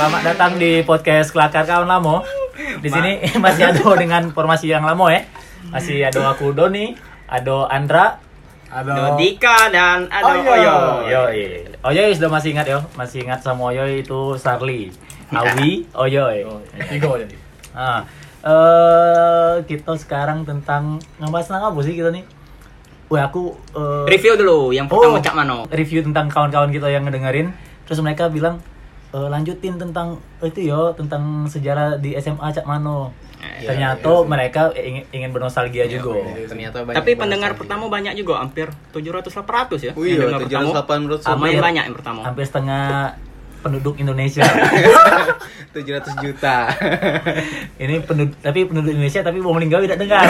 Selamat datang di podcast Kelakar Kawan Lamo. Di sini masih ada dengan formasi yang lamo ya. Masih ada aku Doni, ada Andra, Ada Dika dan Oh, Oh, iya. ada Oyo. iya. Oyo. Oyoy. Oyoy sudah masih ingat yo, masih ingat sama Oyoy itu Sarli. Awi, Oyoy. Tiga jadi. Nah, eh kita sekarang tentang ngebahas tentang apa sih kita nih? Wah, aku eh, Review dulu yang pertama Oh. Cak Mano. Review tentang kawan-kawan kita yang ngedengerin. Terus mereka bilang "E, lanjutin tentang itu yo tentang sejarah di SMA Cak Mano. Iya, Ternyata mereka ingin, ingin bernostalgia Ya, juga. Ternyata banyak. Tapi pendengar pertama banyak juga, hampir 700-800 ya. Wih, Yang dengar 700-800. pertama. Lumayan banyak yang pertama. Hampir setengah penduduk Indonesia. 700 juta. Ini penduduk tapi penduduk Indonesia tapi Wong Linggawi tidak dengar.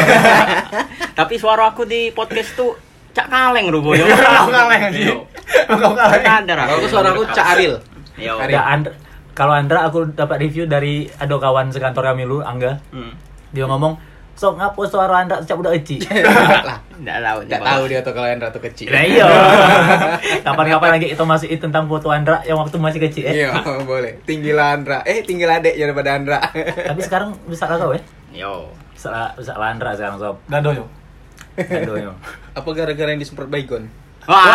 Tapi suara aku di podcast tuh Cak Kaleng rupanya. Yo. Kadar aku. Iya. Kalau suara aku Cak Aril. Yo. Aril. Ya, And- kalau Andra aku dapat review dari ada kawan sekantor kami lu Angga. Hmm. Dia ngomong, "Sok ngapo suara Andra sejak udah eci?" Lah, Nggak tahu. nggak tahu dia atau kalian ratu kecil. Nah, iya. Kapan-kapan lagi kita masih tentang foto Andra yang waktu masih kecil ya. Iya, boleh. Tinggal Andra. Eh, tinggal adek daripada Andra. Tapi sekarang bisa lah kau ya. Yo. Bisa lah, bisa lah Andra sekarang sob. Gado yo. Aduh, yo. Apa gara-gara yang disemprot baygon? Wah.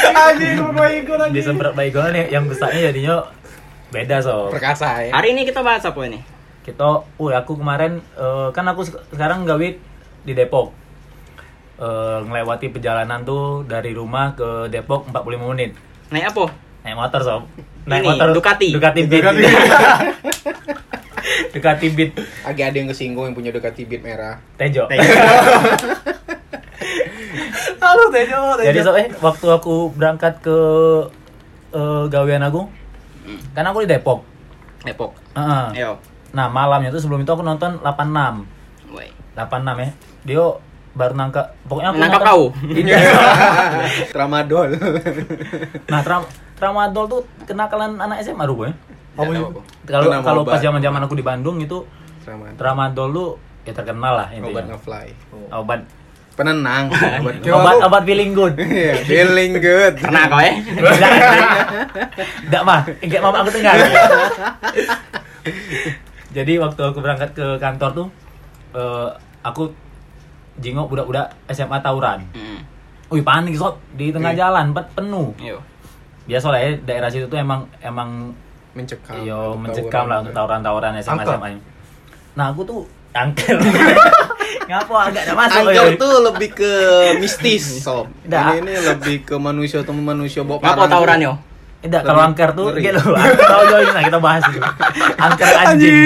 Anjing lu main gua lagi. Disemprot baygon nih yang besarnya jadinya beda sob. Perkasa ya. Hari ini kita bahas apa ini? Kita, uh aku kemarin eh, kan aku se- sekarang gawe di Depok. Eh, ngelewati perjalanan tuh dari rumah ke Depok 45 menit. Naik apa? Naik motor sob. Ini, Ducati. Ducati Beat. Ducati Beat Agak ada yang kesinggung yang punya Ducati Beat merah. Tejo. Halo Tejo, Tejo. Jadi sob eh waktu aku berangkat ke eh, gawean aku, kan aku di Depok. Depok. Heeh. Yo. Nah malamnya tuh sebelum itu aku nonton 86 Woi. 86 ya Dia baru nangkap Pokoknya aku Menangkap nonton- kau. Iya. Tramadol. Nah tram, Tramadol tuh kenakalan anak SMA rupanya Apa itu? Kalau Itu nama kalau pas obat. zaman zaman aku di Bandung itu Tramadol. Tramadol tuh ya terkenal lah Obat intinya ngefly. Obat Penenang. Obat Obat, obat feeling good Iya, feeling good. Pernah kau ya? Enggak mah, enggak mama aku dengar. Jadi waktu aku berangkat ke kantor tuh, eh, aku jenguk budak-budak SMA tawuran. Hmm. Wih panik sob di tengah Iya. jalan, pet penuh. Yo. Biasa lah ya daerah situ tuh emang emang yo Mencekam. atau Iya, mencekam lah untuk tawuran. gitu ya. tawuran-tawuran SMA Angkel. SMA nya. Nah aku tuh angkel. Ngapa agak ada masuk Angker woy. tuh lebih ke mistis, sob. Dah. Ini ini lebih ke manusia atau manusia bawa Ngapa parang. tawuran yo? Enggak, kalau Lebih angker tuh ngeri. gitu loh. Angker tahu jauh nah kita bahas itu. Angker anjing.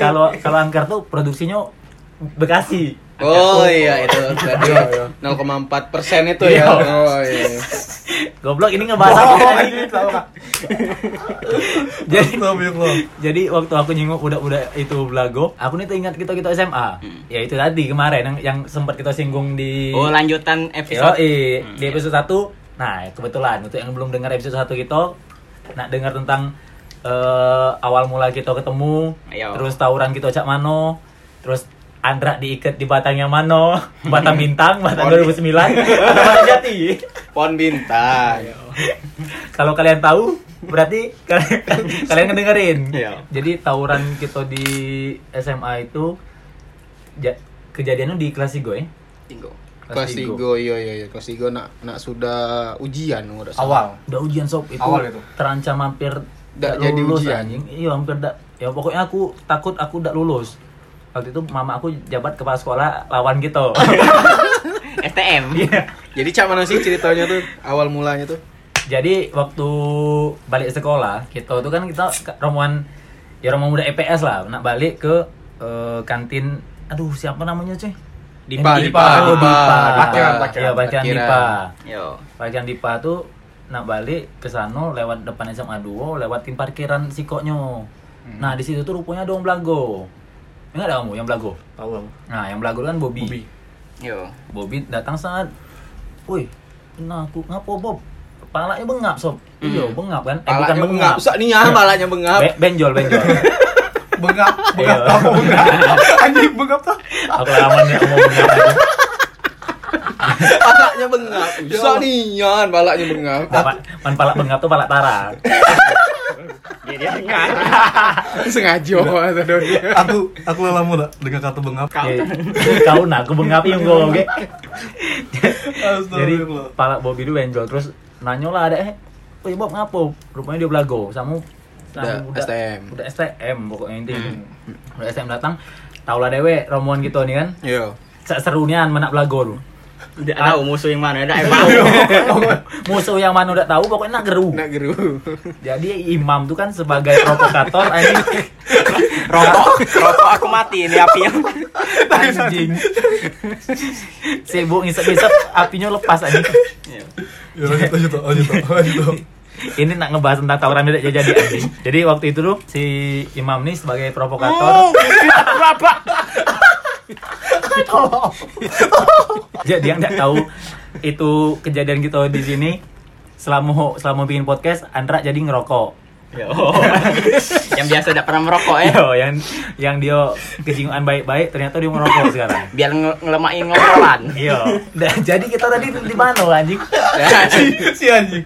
Kalau kalau angker tuh produksinya Bekasi. Oh iya itu tadi Iya, iya. 0,4 persen itu Iya. ya. Oh iya. Goblok Oh, ini ngebahas apa tadi? Jadi jadi waktu aku nyinggung udah-udah itu belago, aku nih teringat kita kita SMA. Hmm. Ya itu tadi kemarin yang, yang sempat kita singgung di Oh, lanjutan Yo, episode. i, Hmm. di episode 1 Nah, kebetulan untuk yang belum dengar episode 1 kita nak dengar tentang eh, awal mula kita ketemu, Ayo. terus tawuran kita cak mano, terus Andra diikat di batangnya mano, batang bintang, batang 2009, atau batang jati. Pon bintang. Kalau kalian tahu, berarti kalian, kalian ngedengerin. Iya. Jadi tawuran kita di SMA itu ja- kejadiannya di Klasigo ya? Tinggo. Kelas tiga. 3 iya iya iya. kelas 3 nak nak sudah ujian enggak Awal. Udah ujian sob itu. Awal itu. Terancam hampir Ndak ndak jadi lulus, ujian. anjing. Iya hampir ndak. Ya pokoknya aku takut aku ndak lulus. Waktu itu mama aku jabat kepala sekolah lawan gitu. STM. Iya. Jadi cak mana sih ceritanya tuh awal mulanya tuh? Eh, Jadi waktu balik sekolah, kita tuh kan kita ke- rombongan ya rombongan muda EPS lah, nak balik ke eh, kantin aduh siapa namanya cuy? Dipa, Yang Dipa, Oh, Dipa. Parkiran, parkiran, Iya, parkiran parkiran. Dipa. Yo. Parkiran Dipa tuh nak balik ke sana lewat depan SMA 2 lewat tim parkiran Sikonyo. Nah, di situ tuh rupanya ada orang belago. Enggak ada kamu yang belago. Tahu aku. Nah, yang belago kan Bobby. Bobby. Bobby, Yo. datang saat Woi, nah aku ngapo Bob? Palanya bengap, sob. Iya, bengap kan? Eh, bukan Palanya bengap. bengap. Usah nih ya palanya bengap. Be- benjol, benjol. Bengap, bengap Iya. tahu bengap. Anjing bengap tahu. Aku lawannya mau bengap. aja. Palaknya bengap. Bisa nian palaknya bengap. Apa- Man palak bengap tuh palak tara. Jadi ingat. Sengaja kata Doni. aku aku lelah mula dengan kata bengap. Ya, Kau nak aku bengap iya, yang gue oke. Jadi Astagfirullah. palak Bobby itu benjol terus nanyo lah ada eh. Wih Bob ngapo? Rupanya dia belago sama Udah STM. Udah STM pokoknya intinya. Hmm. Udah STM datang, taulah dewe rombongan gitu nih kan. Yo. Sak serunian menak belago tuh. Tidak tahu musuh yang mana, tidak tahu. Musuh yang mana udah tahu pokoknya nak geru. Nak geru. Jadi imam tuh kan sebagai provokator anjing Rokok, rokok aku mati ini apinya. anjing. Sibuk ngisep-ngisep apinya lepas anjing. Ya lanjut lanjut Tok, lanjut Tok, lanjut Tok. Ini nak ngebahas tentang tawuran tidak jadi jadi anjing. Jadi waktu itu tuh si imam nih sebagai provokator. Jadi yang nggak tahu itu kejadian kita di sini selama selama bikin podcast Andra jadi ngerokok. Yo. yang biasa tidak pernah merokok ya. Yo, yang yang dia kejinguan baik-baik ternyata dia ngerokok sekarang. Biar nge- ngelemakin ngopelan. Iya. Nah, jadi kita tadi di mana anjing? Ya. Si, si anjing.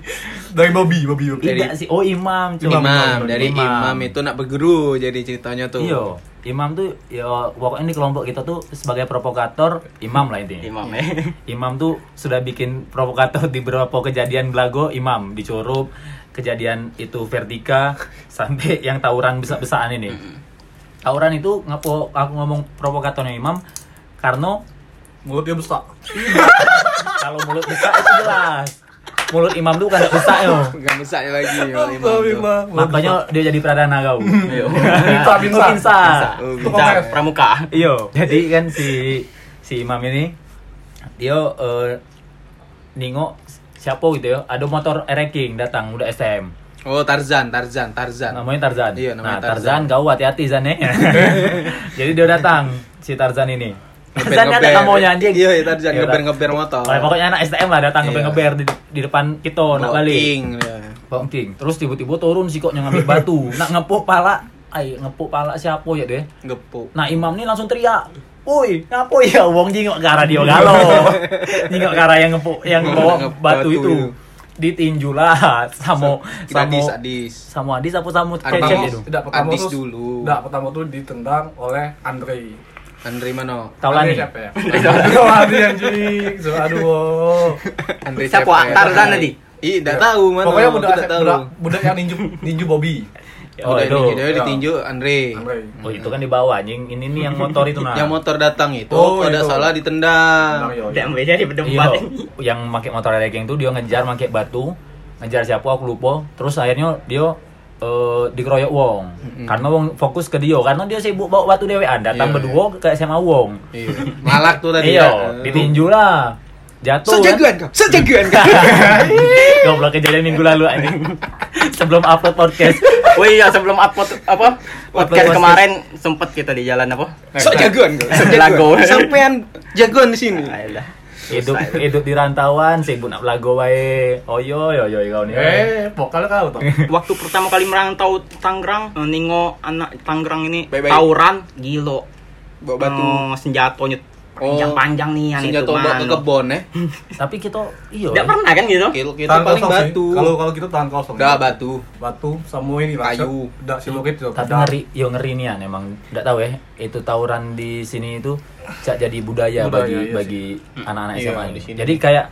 Dari Bobby, Bobby, Bobby. Tidak sih. Oh, imam. coy. Imam dari imam itu nak bergeru jadi ceritanya tuh. Iya, imam tuh ya pokoknya di kelompok kita tuh sebagai provokator, imam lah intinya. Imam eh. ya. Imam tuh sudah bikin provokator di beberapa kejadian belago imam dicurup kejadian itu vertika sampai yang tawuran besar-besaran ini. Tawuran itu ngapo aku ngomong provokatornya imam karena Mulutnya besar. kalau mulut besar itu jelas. Mulut imam tuh kan besar yo. Enggak besarnya ya lagi yo imam. tuh. Astagfirullah. Mulut Makanya dia jadi pradana kau. Yo. Pintar, pintar. Pintar. Oh, Kita bisa. pramuka. Iyo, jadi kan si si Imam ini dia eh, nengok siapa gitu ya, ada motor ranking datang udah STM. Oh Tarzan, Tarzan, Tarzan. Namanya Tarzan. Iya, nah, namanya Tarzan, kau hati-hati Zan ya. jadi dia datang si Tarzan ini. Ngeber- Tarzan kan ngeber. ada maunya anjing. Iya, iya, Tarzan Iya, ngeber-ngeber motor. Oh, pokoknya anak STM lah datang Iya. ngeber-ngeber di, di depan kita nak balik. King, ya. Bongking. Terus tiba-tiba turun si kok yang ngambil batu, nak ngepuk pala. Ay, ngepuk pala siapa ya deh? Gepuk. Nah Imam nih langsung teriak, Woi, ngapo ya wong jingok ke arah dia galo. jingok ke arah yang ngepu, yang bawa Ngepu batu batu itu. itu. Ditinju lah sama sama Sadis, sadis. sama Adis apa sama gitu. Pertama- kecet itu. tidak pertama Adis tuh dulu. tidak pertama tuh ditendang oleh Andre Andre Mano. Taulani. Andre siapa ya aduh Andre anjing So, aduh Andre Siapa? Cepet. Tarzan tadi? Ih, enggak tahu mana. pokoknya budak Tidak tahu. Ya budak, budak yang ninju ninju Bobby Oh Udah itu. ditinju, dia ditinju Andre. Andre Oh itu kan di bawah anjing. Ini nih yang motor itu nah. Yang motor datang itu, Oh, kalau tidak itu. salah ditendang. Mario Tidak mau jadi Iya, berdebat. yang pakai motor regeng itu dia ngejar pakai batu, ngejar siapa aku lupa. Terus akhirnya dia eh, dikeroyok wong. Karena wong fokus ke dia, karena dia sibuk bawa batu dewean, datang Iya, berdua ke SMA wong. Iya. Malak tuh tadi. Iya, ya. ditinju lah. Jatuh kan. Sejagoan kau, sejagoan kau. Goblok kejadian minggu lalu anjing. Sebelum upload podcast. Oh iya sebelum upload apa podcast podcast. kemarin sempet kita di jalan apa? Eh, Sok jagoan kau, sok Lagu. jagoan. Sampean jagoan di sini. Ayolah. hidup hidup di rantauan, sibuk nak lagu wae. Oyo yo yo kau ni. eh vokal kau tuh Waktu pertama kali merantau Tangerang, eh, ningo anak Tangerang ini Baik-baik. tawuran gilo. Bawa batu. Eh, senjatanya Oh, panjang-panjang nih yang Senjata itu bawa ke mano. kebon eh. Tapi kita iyo. Tidak pernah kan gitu? Kilo kita tangan paling kosong sih batu. kalau kalau kita tangan kosong Enggak batu. batu sama ini lah. Kayu. tidak silokit itu Tapi ngeri, yo ngeri nian emang. Enggak tahu ya, itu tawuran di sini itu cak jadi budaya, Budaya, bagi iya sih. bagi anak-anak Iya, SMA ini. di sini. Jadi kayak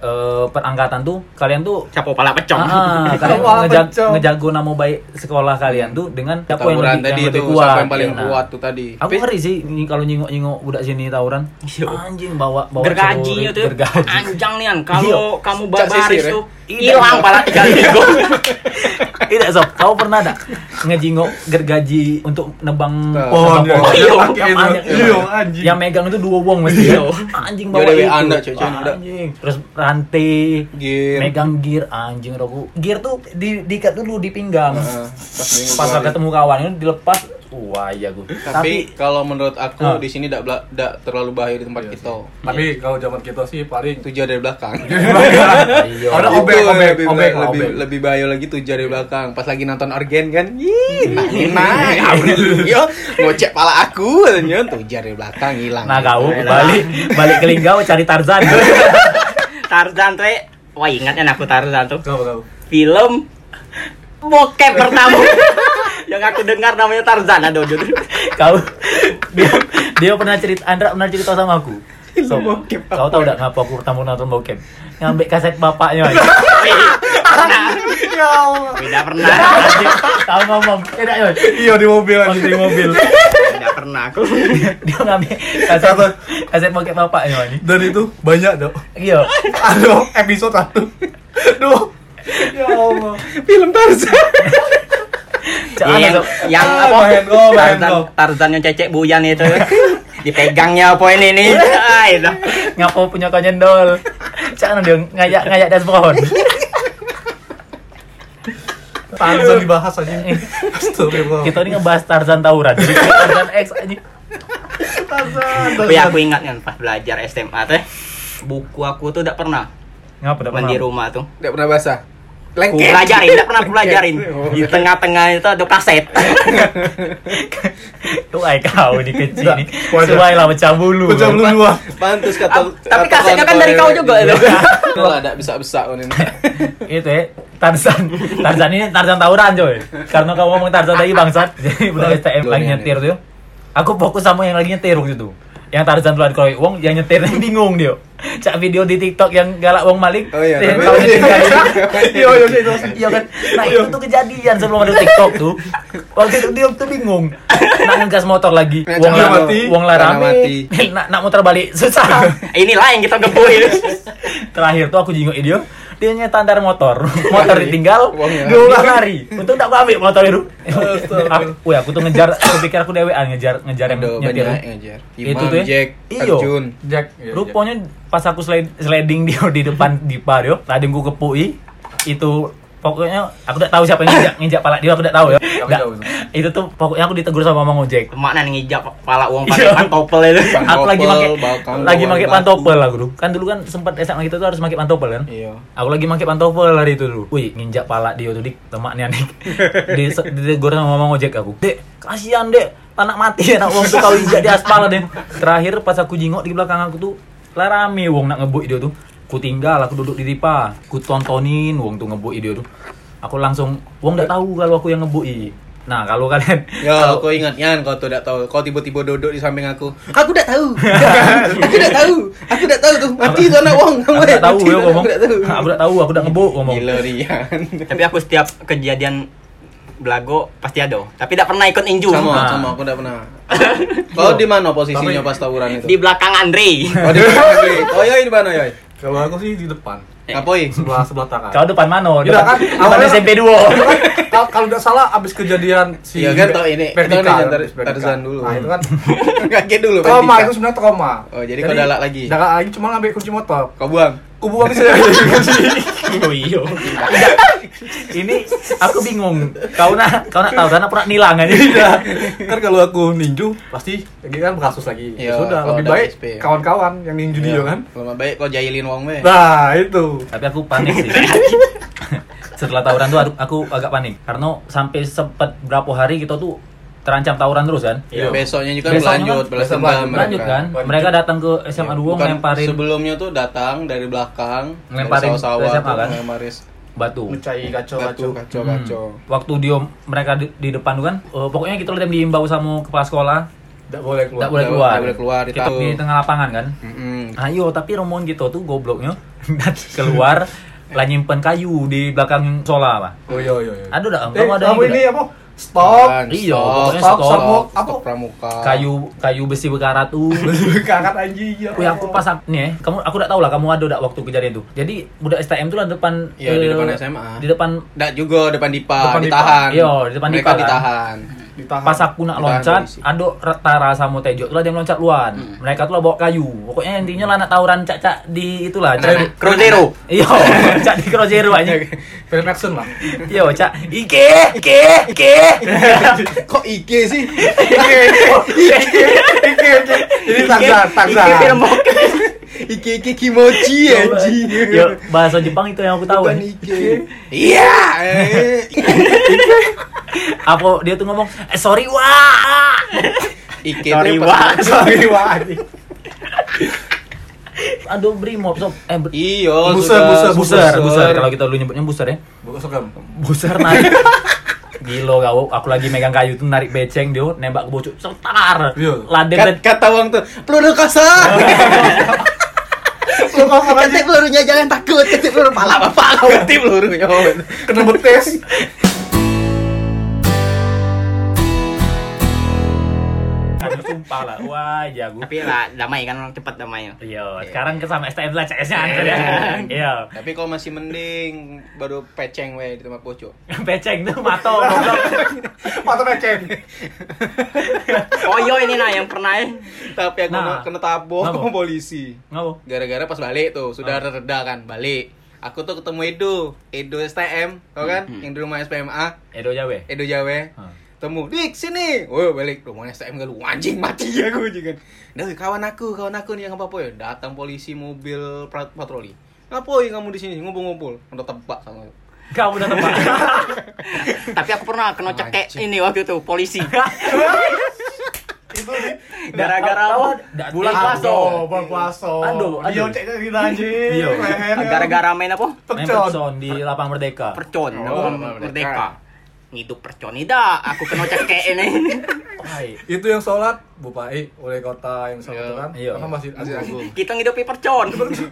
eh, perangkatan tuh kalian tuh Capo pala pecong. Ah, ah, kalian Wah, ngejag- bencong. ngejago nama baik sekolah kalian tuh dengan siapa yang Tawuran lebih, tadi yang itu lebih kuat. siapa yang paling Nah, kuat tuh tadi. Aku ngeri sih ini kalau nyingok-nyingok budak sini tawuran. Iya. Anjing bawa bawa celurit, Gergajinya tuh ya. gergaji. anjang nih kan. Kalau kamu Cak babaris sisir, ya? tuh hilang pala tiga tiga. Tidak sob, kau pernah ada ngejingok gergaji untuk nebang Tuh. Pohon ya. pohon? Iya, Iya, pakai itu. apaan ya? Iya, anjing. Iya. Yang megang itu dua wong mesti. ya. Anjing bawa Yaudah, itu. WA anda, cuy, cuy, Wah, udah. anjing. Terus rantai Gear. megang gear anjing roku. Gear tuh di diikat dulu di pinggang. Ah, Heeh, pas dia Pas ngeluarin. ketemu kawan itu dilepas Wah iya gue. Tapi- Tapi, kalau menurut aku Ah. Iya di sini tidak terlalu bahaya di tempat kita. Tapi kalau zaman kita sih paling Tujuh dari belakang. iya. Ada Itu obeng, obeng, lebih, obeng, lebih, obeng. lebih bahaya lagi tujuh Iya. dari belakang. Pas lagi nonton organ kan, yih, Iya. naik naik, Abril, yo, ngocek pala aku, katanya, tujuh dari belakang hilang. nah kau Hilang. balik balik ke Linggau cari Tarzan. Tarzan tuh, wah ingatnya aku Tarzan tuh. Kenapa kau? film bokep pertama yang aku dengar namanya Tarzan aduh aduh kau dia, dia pernah cerita Andra pernah cerita sama aku. So, kau tahu gak ngapa aku pertama nonton bokep? Ngambil kaset bapaknya. aja. pernah tidak pernah Anjing, Tahu ngomong. Enak ya. Iya di mobil anjing di mobil. tidak pernah aku Dia ngambil kaset kaset bokep bapaknya ini. Dan itu banyak dok. Iya. Aduh episode satu. Duh. Ya Allah. film Tarzan Cak, yang anak, yang Ah, apa main gol, main Tarzan gol. Tarzan yang cecek buyan itu dipegangnya apa ini nih ah, itu ngapo punya kau nyendol. Cak anak dia ngayak ngayak das pohon. Tarzan dibahas anjing. Astagfirullah. Eh. Kita ini ngebahas Tarzan tawuran. Jadi Tarzan X anjing. Tarzan. tapi Iya. aku ingat kan pas belajar SMA teh buku aku tuh tidak pernah Ngapa dapat? mandi rumah tuh Tidak pernah basah. aku pelajarin tidak pernah aku pelajarin di tengah-tengah itu ada kaset Tuh ai kau ini kecil ini. Waduh. Sesuai lah macam bulu. Pecah lu dua. Pantus Ah, kata tapi kasetnya kan dari kau juga itu Iya. Kalau ada bisa-bisa kan ini. Itu ya, Tarzan. Tarzan ini Tarzan tawuran coy. Karena kau ngomong Tarzan tadi bangsat. Jadi benar STM lagi nyetir tuh. Aku fokus sama yang lagi nyetir waktu itu. Yang Tarzan keluar kalau uang, yang nyetir bingung dia. Cak video di TikTok yang galak uang Malik. Oh iya, Dia tapi- tahu nyetir. Iya iya itu. Iya kan? Nah itu tuh kejadian sebelum ada TikTok tuh Waktu itu dia tuh bingung Nak ngegas motor lagi Nah, Uang jangan lara mati. Uang lara Jangan mati. Nak, nak muter balik Susah inilah yang kita gebuin Terakhir tuh aku jenguk dia Dia nyetandar motor Motor ditinggal Uangnya. Dia udah lari Untung tak aku ambil motor itu Aku- Wih aku tuh ngejar Aku pikir aku dewean ngejar Ngejar yang Aduh, iya, nyetir banyak yang ngejar. Itu Imam, tuh ya? Jack, Iyo. Arjun. Jack. iya, Jack. Rupanya pas aku slide- sliding dia di depan di dia, tadi aku kepui itu pokoknya aku tidak tahu siapa yang nginjak nginjak pala dia aku tidak tahu ya. Nggak- tahu. itu tuh pokoknya aku ditegur sama Mang Ojek. makna ngijak kepala uang Iya. pakai pantopel itu Aku lagi pakai Pantopel, bakang, lagi bawang pakai batu. pantopel lah dulu. Kan dulu kan sempat SMA kita tuh harus pakai pantopel kan. Iya. Aku lagi pakai pantopel hari itu dulu. Wih, nginjak pala dia tuh dik, temaknya nih. Di ditegur sama Mang Ojek aku. Dek, kasihan Dek. Anak mati anak wong tuh kau injak di aspal deh. Terakhir pas aku jingok di belakang aku tuh lah rame wong nak ngebut dia tuh. Ku tinggal, aku duduk di ripa. Ku tontonin wong tuh ngebut dia tuh. Aku langsung wong ndak tahu kalau aku yang ngebui. Nah, kalau kalian Ya, kau ingat kan kau tidak tahu. Kau tiba-tiba duduk di samping aku. Aku tidak tahu. aku tidak tahu. Aku tidak tahu tuh. Mati tuh anak wong. aku nggak tahu Mati ya tuh, ngomong. Aku tidak tahu. Aku nggak tahu, aku udah ngebuk ngomong. Gila Rian. tapi aku setiap kejadian belago pasti ada tapi tidak pernah ikut inju Sama, Nah. sama aku tidak pernah. Kau di mana posisinya Tapi- pas tawuran itu? di belakang Andre Oh, di mana? Oh, yoi di mana, yoi? Kalau aku sih di depan. Ngapoi? Sebelah sebelah tangan. Kau depan mano? Iya, Depan, kan? depan Awalnya- SMP 2. Kalau kalau tidak salah abis kejadian si Iya, kan, tau ini. Vertika, Tau ini yang Tar- abis Vertika. Tarzan dulu. Nah itu kan Kaget dulu trauma Vertika. itu sebenarnya trauma. Oh, jadi kau dalak lagi? Dalak lagi cuma ngambil kunci motor. Kau buang. Kubu habis aja. Iya. Ini aku bingung. Kau nak kau nak tahu karena pernah nilang aja. Iya. Kan kalau aku ninju pasti lagi kan berasus lagi. Ya Iya, sudah, kalau lebih ada baik SP. kawan-kawan yang ninju Iya. dia kan. Kalau baik kau jahilin wong Eh. be. Nah, itu. Tapi aku panik sih. Setelah tawuran tuh aku- aku agak panik karena sampai sempet berapa hari kita tuh terancam tawuran terus kan. Iya. Besoknya juga Besoknya berlanjut, kan- belas besok dendam berlanjut, Lanjut mereka. Iya, kan, mereka datang ke SMA Duo Bukan, ngelemparin sebelumnya tuh datang dari belakang dari Ngelemparin ke sawah-sawah SMA tuh, kan? ngelemparin batu. Mencai batu kacau Hmm. kacau Waktu dia mereka di, di depan tuh kan, eh, pokoknya kita udah diimbau sama kepala sekolah, Tidak boleh keluar. tidak boleh nggak- keluar. nggak boleh keluar, Kita ditahu. di tengah lapangan kan. Mm-mm. Ayo, tapi rombongan kita tuh gobloknya dan keluar lah nyimpen kayu di belakang sola pak. Oh iya iya iya. Ada dah, Eh, kamu ada kamu ini ini apa? Stop. Bukan, Iya, stop, pokoknya stop, stop. stop, Apa? stop pramuka kayu kayu besi berkarat tuh. Kakak anjing. ya Wih, aku Allah. pas nih, ya, kamu aku udah tahu lah kamu ada dak waktu kejadian tuh. Jadi budak STM tuh lah depan Iya, di eh, depan SMA. Di depan Nggak juga depan dipa Depan Dipa. ditahan Iya, di depan mereka Dipa kan? ditahan Ditahan. pas aku nak Ditahan loncat polisi. ado Tara sama Tejo tuh lah dia loncat luan mereka tuh lah bawa kayu pokoknya intinya lah nak tawuran cak-cak di itulah cak Crozero. iya cak di krojero aja Film action lah. iya cak ike ike ike Kok IG sih? Ini Tarzan, Tarzan. IG film bokep. IG IG kimochi anji. Yo, Ya bahasa Jepang itu yang aku tahu. Iya, Bukan nih. IG. Iya. eh. Apa dia tuh ngomong, "Eh, sorry wah. IG Sorry, itu Wak. pas- Sorry, Wak. Aduh brimob sob. Eh, ber- Iya, Buser, sudah, buser, buser, buser. Kalau kita dulu nyebutnya buser ya. Bukan sokam. Buser narik. Gilo kau, aku lagi megang kayu tuh narik beceng dia nembak ke bocok setar. Iya. Laden Kat- kata uang tuh peluru kosong. peluru kosong. Ketik pelurunya jangan takut, ketik peluru pala bapak kau ketik pelurunya. Kena betes. Aduh, sumpah lah. Wah, ya gua. Tapi lah damai kan orang cepat damai. Iya, sekarang ke sama STM lah CS-nya anjir ya. Iya. Tapi kau masih mending baru peceng weh di tempat pojok. Beceng tuh mato goblok. Mata mecen. Koyo ini nah yang pernah ya. Tapi aku Nah. kena- kena tabok Kenapa? Ah. sama polisi. Ngapa? Gara-gara pas balik tuh, sudah reda kan, balik. Aku tuh ketemu Edo, Edo STM, tau kan? Hmm. Yang di rumah SPMA, Edo Jawa. Eh. Edo Jawa. Hah. Temu, dik sini. Woi balik rumahnya STM galu anjing mati aku juga. Doi kawan aku, kawan aku nih yang apa apa ya. Datang polisi mobil pra- patroli. Ngapain kamu di sini ngumpul-ngumpul? Udah tebak sama. Kamu udah tempat. Tapi aku pernah kena cekek Anjing. ini waktu itu polisi. Itu nih. Gara-gara Tahu- apa? tahu, dak- Bulan dak- puasa. Aduh, bang kuaso. Aduh, aduh. Dia cek cek anjing. Iya. Lehernya. Gara-gara main apa? Main Pecon. Percon di lapangan Merdeka. Percon. Oh, Orang Merdeka. merdeka. Ngidup percon tidak, aku kena cekek ini. Hai. Itu yang sholat Bupai oleh kota yang sholat Iya. itu kan. Iya. Apa masjid agung. Kita ngidupi percon. Tapi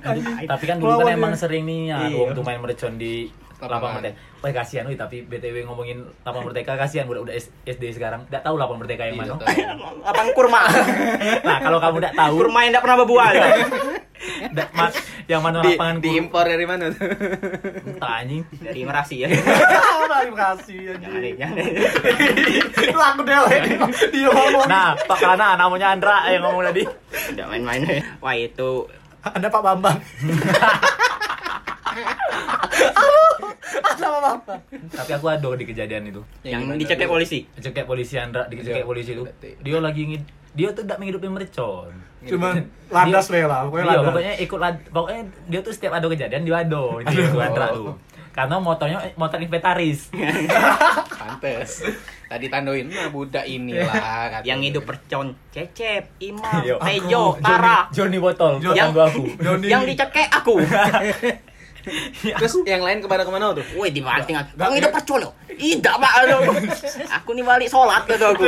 kan dulu kan Melawan emang dia. sering nih ya, Iya. uang tuh main mercon di lapangan Lapangan. Merdeka. Wah kasihan wih, tapi BTW ngomongin lapangan Merdeka kasihan udah udah SD sekarang. Enggak tahu lapangan Merdeka Iya, yang mana. Abang kurma. Nah, kalau kamu enggak tahu, Kurma yang tidak pernah berbual. ndak- ma- yang mana Di, lapangan di impor dari mana tuh? entah anjing. Dari Merasi ya. Terima kasih Jangan, anjing. jangan. Itu aku dewe. Dia ngomong. Nah, Pak Kana namanya Andra yang ngomong tadi. Tidak main-main. Wah itu Anda Pak Bambang. Tapi aku aduh di kejadian itu. yang dicekek polisi. Dicekek polisi Andra, dicekek Iya. polisi itu. Dia lagi ngid- dia tuh tidak menghidupi mercon. Cuman landas Gitu. Dia- we lah, pokoknya Iya, landas. pokoknya ikut lad- pokoknya dia tuh setiap ada kejadian dia ado di Andra tuh. Karena motornya motor inventaris. Iya. Pantes. Tadi tandoin nah budak inilah kata. Yang hidup percon. Cecep, Imam, Yo. Tejo, Tara. Johnny Botol, Johnny- tetangga aku. Johnny. Yang dicekek aku. Terus yang lain kepada kemana tuh? Woi dibanting aku. Bang itu percol yo. Tidak pak aduh. Aku nih balik sholat gitu aku.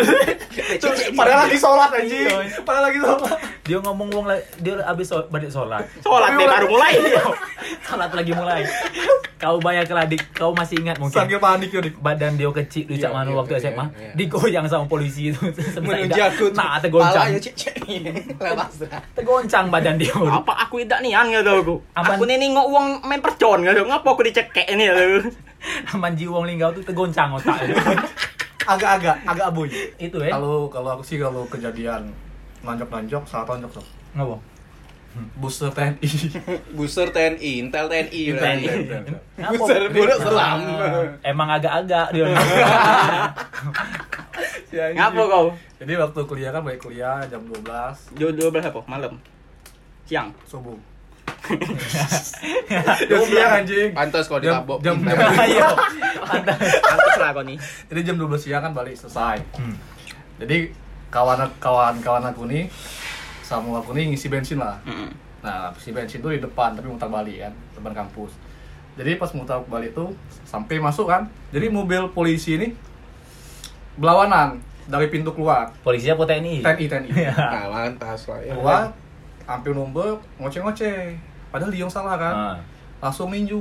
Padahal lagi sholat anjing. Iya, Padahal lagi sholat. Dia ngomong uang dia abis so- balik sholat. Sholat deh baru mulai. Sholat lagi mulai. Kau bayar keladik, kau masih ingat mungkin. Sambil panik yuk. badan dia kecil lu cak Iya, manu iya, waktu iya, SMA iya. digoyang sama polisi itu Menuju aku. tuh. ya, nah tergoncang Palanya cek-cek ini. Lepas dah. tergoncang badan dia Apa aku tidak nian gitu aku. Apaan? Aku nih nengok uang main percon gitu. Ngapa aku dicekek ini gitu. manji wong linggau tuh tergoncang otak Agak-agak, agak abuy. itu eh Kalau kalau aku sih kalau kejadian nanjok-nanjok, salah tonjok tuh. ngapa Booster TNI. Buser TNI, Intel TNI. eh. berarti. Ngapa? Buser buruk selam. Ah, emang agak-agak dia Ya, Ngapa kau? Jadi waktu kuliah kan balik kuliah jam 12 Jam 12 apa? Malam. Siang. subuh. Jam Ya, siang anjing. Pantes kalau Jam- ditabok. jam- Intel. ayo Pantes lah kau nih. Jadi jam 12 siang kan balik selesai. Hmm. Jadi kawan kawan kawan aku nih sama aku nih ngisi bensin lah. Mm-mm. Nah, si bensin tuh di depan tapi mutar balik kan, depan kampus. Jadi pas mutar balik tuh sampai masuk kan. Jadi mobil polisi ini berlawanan dari pintu keluar. polisinya apa TNI TNI TNI. Iya. Nah, lantas lah. Ya, Keluar hampir nombor ngoceh-ngoceh. Padahal dia yang salah kan. Ah. Langsung ninju.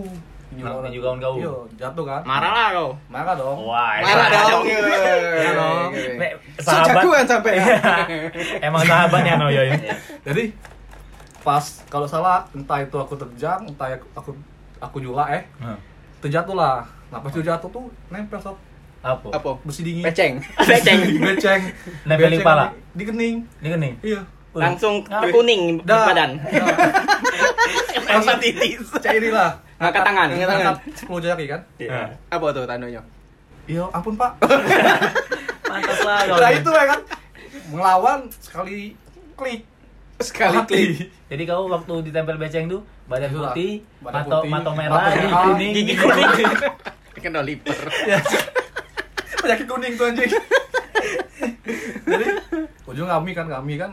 Nah, orang. ninju kawan kau. Oh, Iya, jatuh kan. Marah lah kau. Marah dong. wah Marah emang- dong. Iya, dong. Mek, sahabat Iya. Sejagoan sampai. emang sahabatnya no yo ya. Jadi pas kalau salah entah itu aku terjang, entah aku aku, aku jula eh Nah, Hmm. terjatuh lah. Nah pas itu jatuh tuh nempel sob Apa? Apa? besi dingin Peceng. Beceng. beceng Nempelin Beceng pala. di- di kening Ini kan nih. iya Wih. Langsung kuning di Dah. badan. Dah. Rasa titis. cairilah Ngangkat tangan. Ngangkat tangan. Tatap 10 jari kan Iya. Apa tuh tandanya? iya ampun pak Pantas lah. kau. nah itu lah kan melawan sekali klik Sekali Mati. klik. Jadi kau waktu ditempel beceng tuh badan Itulah. putih, Badan mato putih, mato merah, mata gigi merah, kuning, gigi gigi kuning. Kena liper. penyakit kuning tuh anjing jadi ujung kami kan kami kan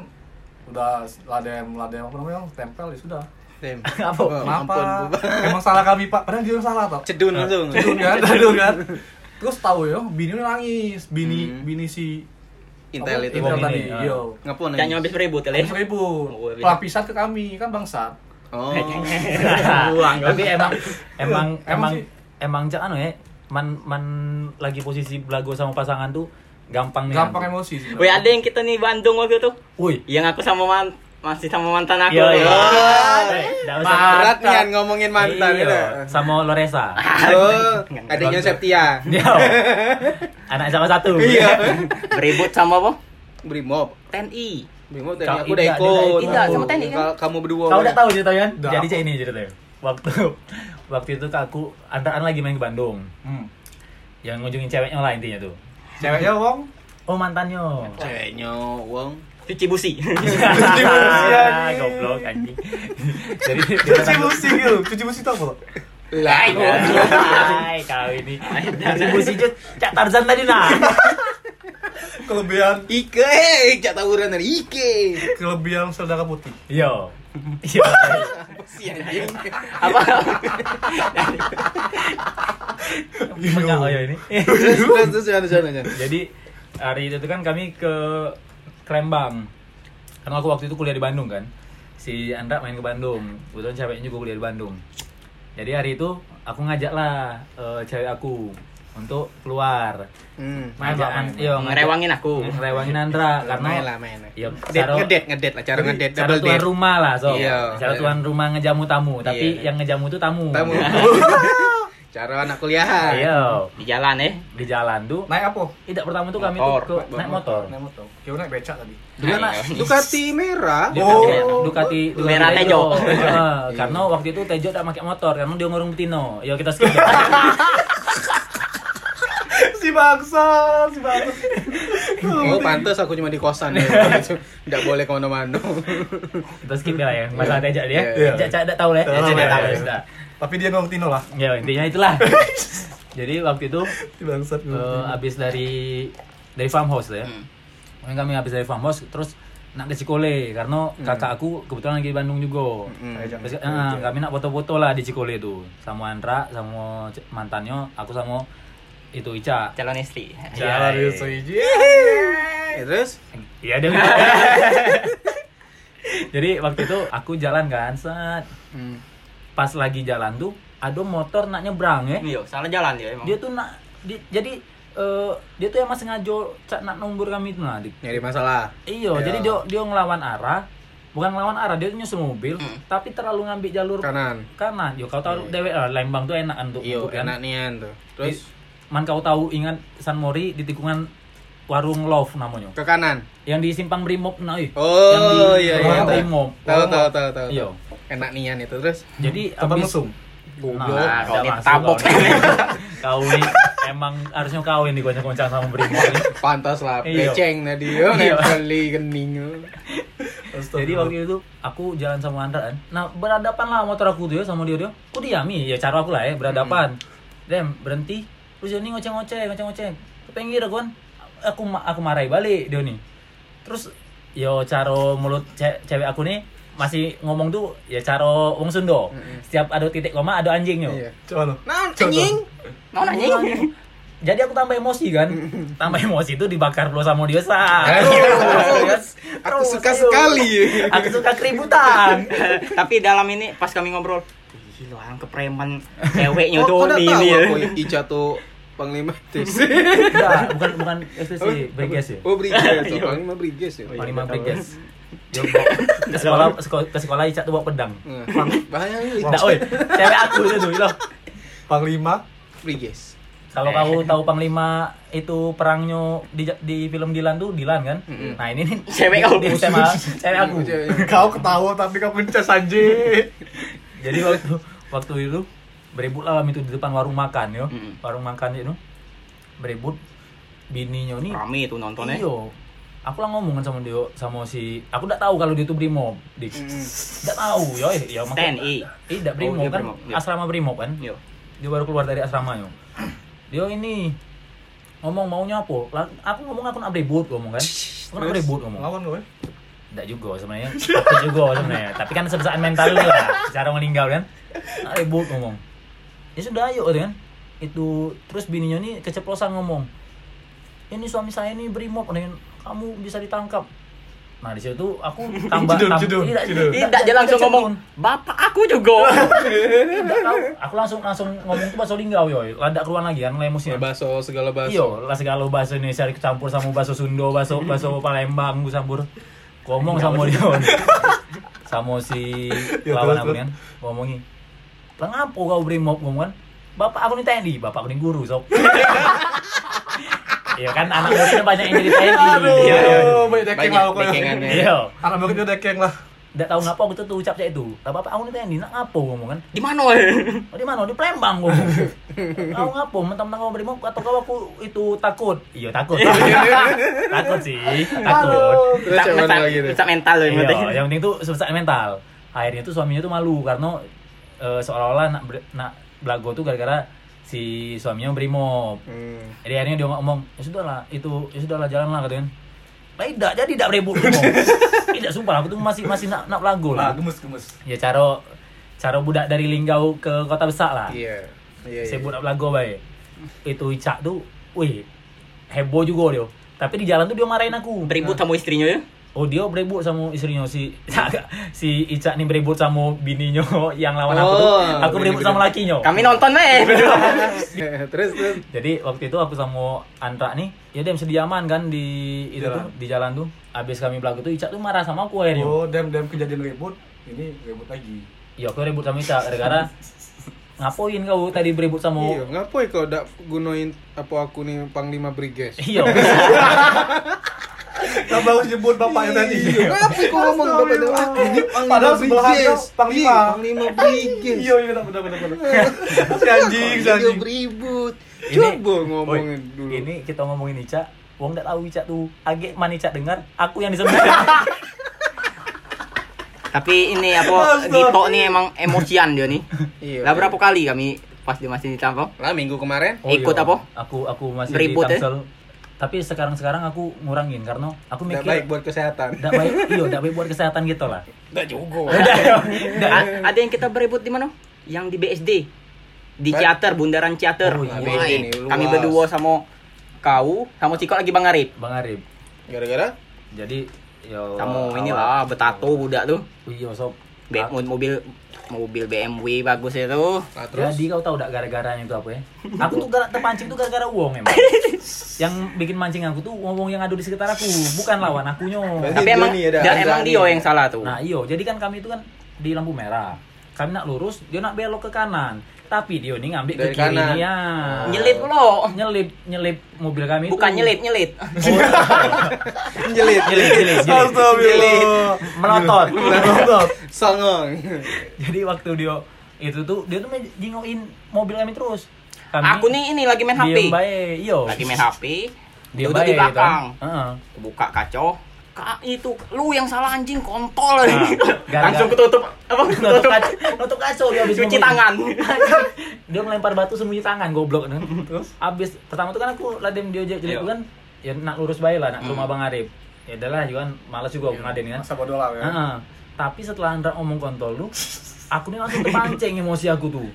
udah ladem ladem apa namanya tempel ya sudah Tem. Apa? Oh, kenapa ampun, Bu. emang salah kami pak padahal dia salah tau Cedun langsung. cedun kan cedun kan terus tahu ya bini nangis bini Hmm. bini si Intel apa, itu. Intel Wong tadi ini, ah. yo Ngapun Jangan nangis? habis ribut kali. ya. seribu Oh, iya. pelapisan ke kami kan bangsat Oh. Tapi emang emang Emang emang sih. emang cak anu ya, man man lagi posisi belago sama pasangan tuh gampang nih. gampang emosi sih Woi, ada yang kita nih Bandung waktu itu. Woi. Yang aku sama man masih sama mantan aku. Iya, iya. Ah. Nggak usah. Berat nian ngomongin mantan Iya, itu. sama Loresa. Oh, adanya Septia. Iya. Anak sama satu. Iya. Beribut sama apa? Brimob. TNI. Kau- Brimob tadi aku udah Indah, ikut. Indah, Indah, sama Teni, kan? Ka- Kamu berdua. Kau Bang. udah tahu ceritanya? Nggak. Jadi cek ini ceritanya. Waktu waktu itu Kak, aku antaran lagi main ke Bandung. Hmm. Yang ngunjungin ceweknya lah intinya tuh. ceweknya wong Oh mantannya. Ceweknya wong. Cuci busi. Iya, Ah, Goblok anjing. Jadi dia cuci datang- busi gitu cuci busi tau apa Lah, iya. Hai kau ini. Distribusi Cak Tarzan tadi nah. kelebihan Ike, eh, cak tawuran dari Ike. kelebihan sel darah putih Yo. Yo. Si anjing. apa? Punya oh ya ini. Terus terus terus jangan jangan jangan. Jadi hari itu tuh kan kami ke Krembang. Karena aku waktu itu kuliah di Bandung kan. Si Andra main ke Bandung. Kebetulan ceweknya juga kuliah di Bandung. Jadi hari itu aku ngajaklah eh, cewek aku untuk keluar. Hmm. Main, Pak, main, Ngajakan, main. yo Ngerewangin aku. Ngerewangin Andra karena Main lah main. lah. Iya, Date, cara- ngedet ngedet lah cara ngedet Cara double tuan date. rumah lah, so. Iya. Cara tuan rumah ngejamu tamu, tapi Iya. yang ngejamu tuh tamu. Tamu. Cara anak kuliahan. Ayo, Di jalan eh. di jalan tuh. naik apa Tidak pertama tuh kami Motor, tuh ke, naik motor. naik motor kira naik becak tadi Dia nak Ducati merah. Dia Oh. pakai Ducati Ducati Merah Tejo. Heeh, karena waktu itu Tejo tak pakai motor, karena dia ngurung Tino. Yo kita skip. si bangsa si bangsa Oh, pantas aku cuma di kosan ya. Enggak boleh kemana mana kita skip lah ya. Masalah Tejo dia. Iya. Tejo Cak tidak tahu lah. ya. Tejo Tidak tahu, tidak tahu. iya. sudah. tapi dia nong tino lah Ya intinya itulah. Jadi waktu itu si bangsa eh, abis dari dari farmhouse lah ya. Hmm. Pokoknya Kami habis dari farmhouse terus nak ke Cikole karena kakak aku kebetulan lagi di Bandung juga. Hmm. hmm. Terus, eh, Ah, kami nak foto-foto lah di Cikole itu sama Andra, sama c- mantannya, aku sama itu Ica. Calon istri. jalan Iya, itu hiji Eh, Terus Iya dia. minta. Jadi waktu itu aku jalan kan, set. Hmm. Pas lagi jalan tuh ada motor nak nyebrang ya. Iya, salah jalan dia emang. Dia tuh nak di- jadi eh, dia tuh emang sengaja cak nak nunggul kami tuh nah di- nyari masalah. Iya, Iya. jadi dia dia ngelawan arah, bukan ngelawan arah, dia nyusul mobil, Hmm. tapi terlalu ngambil jalur Kanan. kanan. Yo kau tahu dewek lah, Lembang tuh enak untuk Iya, ngebut kan. enak nian tuh. Terus Di- man kau tahu ingat San Mori di tikungan warung Love namanya. ke kanan. Yang di simpang Brimob nah, ih. Oh, Iya. yang di iya, Simpang iya, tahu. Brimob. Tahu tahu tahu tahu. Iya. Enak nian itu terus. Jadi tempat abis- mesum Goblok. Nah, kau udah ini masuk, tabok. kau ini. Kau ini emang harusnya kau ini goncang-goncang sama Brimob. ini. Pantas lah, Iya. beceng tadi yo, Iya. beli kening. Jadi waktu itu aku jalan sama Andra kan. Nah, berhadapan lah motor aku tuh ya sama dia dia. Aku diami, ya cara aku lah ya, berhadapan. Hmm. Dem, berhenti. Terus dia nih ngoceh-ngoceh, ngoceh-ngoceh. Ke pinggir kon. Aku ma- aku marahi balik dia nih. Terus yo caro mulut ce- cewek aku nih masih ngomong tuh ya caro wong Sundo. Setiap ada titik koma ada anjing yo. Hmm. Iya. coba lo Nah, anjing. Mau nanya. Jadi aku tambah emosi kan. Hmm. tambah emosi itu dibakar lo sama dia sa. Aku suka sekali. Aku suka keributan. Tapi dalam ini pas kami ngobrol, "Ih, lu orang kepreman ceweknya Oh, kau tuh udah ini tahu ya." aku Ica tuh panglima tis. Enggak, bukan bukan STC, Bregas ya. Iya. Oh, Briges, oh, panglima Briges ya. Panglima Bregas. Dia bawa ke sekolah ke sekolah, ke sekolah Ica tuh bawa pedang. Nah, Bahaya lu Nah, oi, cewek aku itu tuh, loh. panglima Briges. Kalau kau tahu Panglima itu perangnya di, di film Dilan tuh Dilan kan? Nah ini nih Cewek kau. di SMA cewek aku. Iya, kau ketawa tapi kau mencas aja Jadi waktu waktu itu berebut lah kami itu di depan warung makan yo, warung makan itu berebut bininya nih Rame itu nontonnya. Iyo. Aku lah ngomongan sama dia sama si aku ndak tahu kalau dia itu Brimob, Dik. Ndak tahu, yo ya TNI. Iya, ndak Brimob dia kan. Brimob, iya. Asrama Brimob kan. Yo. Dia baru keluar dari asrama yo. Dia ini ngomong maunya apa? Lah, aku ngomong aku nak berebut ngomong kan. Aku nak berebut ngomong. lawan eh. gue Enggak juga sebenarnya. Aku juga sebenarnya. Tapi kan sebesar mental dia lah. Cara meninggal kan. Nah, ribut ngomong. Ya sudah ayo kan. Itu terus bininya nih keceplosan ngomong. Ini suami saya nih brimob nih. Kamu bisa ditangkap. Nah di situ tuh aku tambah Judul, tambah judul, tidak judul. Tidak dia langsung ngomong, "Bapak aku juga." Tidak tahu. Aku langsung langsung ngomong tuh bahasa linggau yo. Landak keluar lagi kan lemusnya. Baso segala baso. Iyo, Iya, lah segala bahasa Indonesia dicampur sama bahasa Sunda, bahasa bahasa Palembang gue campur. Iya, Ngomong sama dia. sama si Ya, lawan terus, aku terus. kan. Ngomongi. Lah ngapo kau brimob ngomong kan? Bapak aku nih TNI, bapak aku nih guru, sob. Iya kan anak muridnya banyak yang jadi TNI. Iya. iya. aduh banyak dekeng lah Banyak pokoknya dekengannya. Iya. anak murid dia dekeng lah Enggak tahu ngapa aku tuh tuh ucap kayak itu. Lah bapak aku nih TNI, nak ngapo ngomong kan? Di mana? eh? Oh, di mana? Di Palembang gua. Kau ngapo? Mentang-mentang kau brimob atau kau aku itu takut? Iya takut. takut sih, takut. Terus Tak yang mental, mana lagi tuh? tak mental loh yang penting. Iya, yang penting tuh sebesar mental. Akhirnya tuh suaminya tuh malu karena eh, seolah-olah nak, ber- nak belago tuh gara-gara si suaminya brimob. Hmm. Jadi akhirnya dia ngomong, ya sudahlah, itu ya sudahlah jalan lah katanya. Lah tidak, jadi tidak berebut ngomong. tidak sumpah, aku tuh masih masih nak nak belago lah. lah Nah, gemes gemes Ya cara cara budak dari Linggau ke kota besar lah. Iya. Iya. Saya buat lagu baik. Itu Ica tuh, wih, heboh juga dia. Tapi di jalan tuh dia marahin aku. Beribut sama istrinya ya. Oh dia berebut sama istrinya si si Ica nih berebut sama bininya yang lawan aku tuh. Oh, Aku berebut sama lakinya. Kami nonton eh. meh. terus terus. Jadi waktu itu aku sama Andra nih, ya dia sediaman kan di itu Jalan. tuh di jalan tuh. Abis kami belagu tuh Ica tuh marah sama aku akhirnya. oh dem dem kejadian ribut ini ribut lagi Ya aku ribut sama Ica gara-gara ngapain kau tadi berebut sama Oh. Iya, ngapain kau dak gunain apa aku nih panglima briges? Iya. Kau baru nyebut bapaknya tadi Iya. Kenapa kau ngomong bapak itu? Aku ini Iya. Padahal panglima sebelahan briges. kau panglima. Iya, Panglima briges. Iya, iya iya benar benar benar si anjing si Dia anjing Iya, beribut. Coba ngomongin Oi, dulu. Ini kita ngomongin Ica, wong ndak tahu Ica tuh. Age man Ica dengar, aku yang disebut. Oh, Tapi ini apa Dito nih emang emosian dia nih. Iya. Lah berapa kali kami pas dia masih di Tampang? Lah minggu kemarin Ikut iya. apa? ya? Aku aku masih Beribut, di Tangsel. Tapi sekarang-sekarang aku ngurangin karena aku tidak mikir baik buat kesehatan. ndak baik, iya ndak baik buat kesehatan gitu lah. Enggak juga. iya. A- ada yang kita berebut di mana? Yang di BSD. Di Ciater, Bundaran Ciater. Oh, iya. Wah, BSD nih, luas. Kami berdua sama kau, sama Ciko lagi Bang Arif. Bang Arif. Gara-gara Jadi yo Kamu Oh, inilah betato budak tuh. Iya sob. Be- Ah, mobil mobil BMW bagus itu. Nah, terus Jadi kau tahu ndak gara-garanya itu apa ya? Aku tuh gara terpancing tuh gara-gara uang emang. yang bikin mancing aku tuh ngomong yang ada di sekitar aku, bukan lawan akunya. Berarti Tapi dia emang nih ada- da- ada emang nih. dia yang salah tuh. Nah iyo, jadi kan kami itu kan di lampu merah. Kami nak lurus, dia nak belok ke kanan. Tapi dia ini ngambil ke Dari kiri kanan. Oh. nih, ya. Nyelip lo. Nyelip, nyelip mobil kami Bukan itu. nyelit, nyelit. jelit. Nyelip, nyelip, nyelip. astagfirullah Melotot. Melotot. Songong. jadi waktu dia itu tuh dia tuh jingoin mobil kami terus. Kami Aku nih ini lagi main HP. Diem baik, iyo. Lagi main HP. Diem duduk baik, di belakang. kan. Heeh. Buka kaco. Kak itu lu yang salah anjing kontol. Nah. gara-gara- Langsung ketutup apa? Nutup Ketutup kaca, nutup kaca dia habis cuci ngomongin. tangan. dia melempar batu sembunyi tangan goblok kan terus abis pertama tuh kan aku ladem dia jelek jelek Iya. tuh kan ya nak lurus baik lah nak ke rumah bang Arif ya adalah juga kan malas juga aku ngaden kan masa bodoh lah ya Heeh. tapi setelah Andra ngomong kontol lu aku nih langsung terpancing emosi aku tuh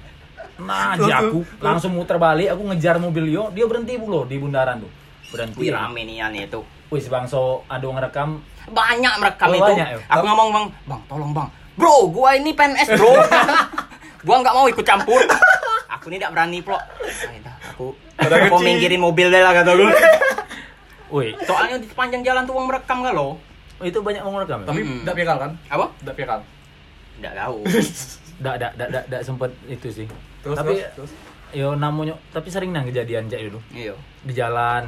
nah Terus, aja aku terus. langsung muter balik aku ngejar mobil dia dia berhenti pula di bundaran tuh berhenti Wih rame nih Yan, itu. wih si bangso ada ngerekam Banyak merekam Oh, itu. banyak, ya? Aku ngomong bang, bang tolong bang. Bro, gua ini PNS bro. gua nggak mau ikut campur. Aku ini tidak berani pro. Aku Ada mau kecil. minggirin mobil deh lah kata gue. wih Soalnya di sepanjang jalan tuh uang merekam gak lo? itu banyak yang ngerekam ya? tapi Mm-mm. tidak viral kan Apa? tidak viral Tidak tahu. Dak, dak, dak, dak, dak sempet itu sih. terus Tapi terus, terus. yo namanya tapi sering nang kejadian gitu. cek dulu Iya. di jalan.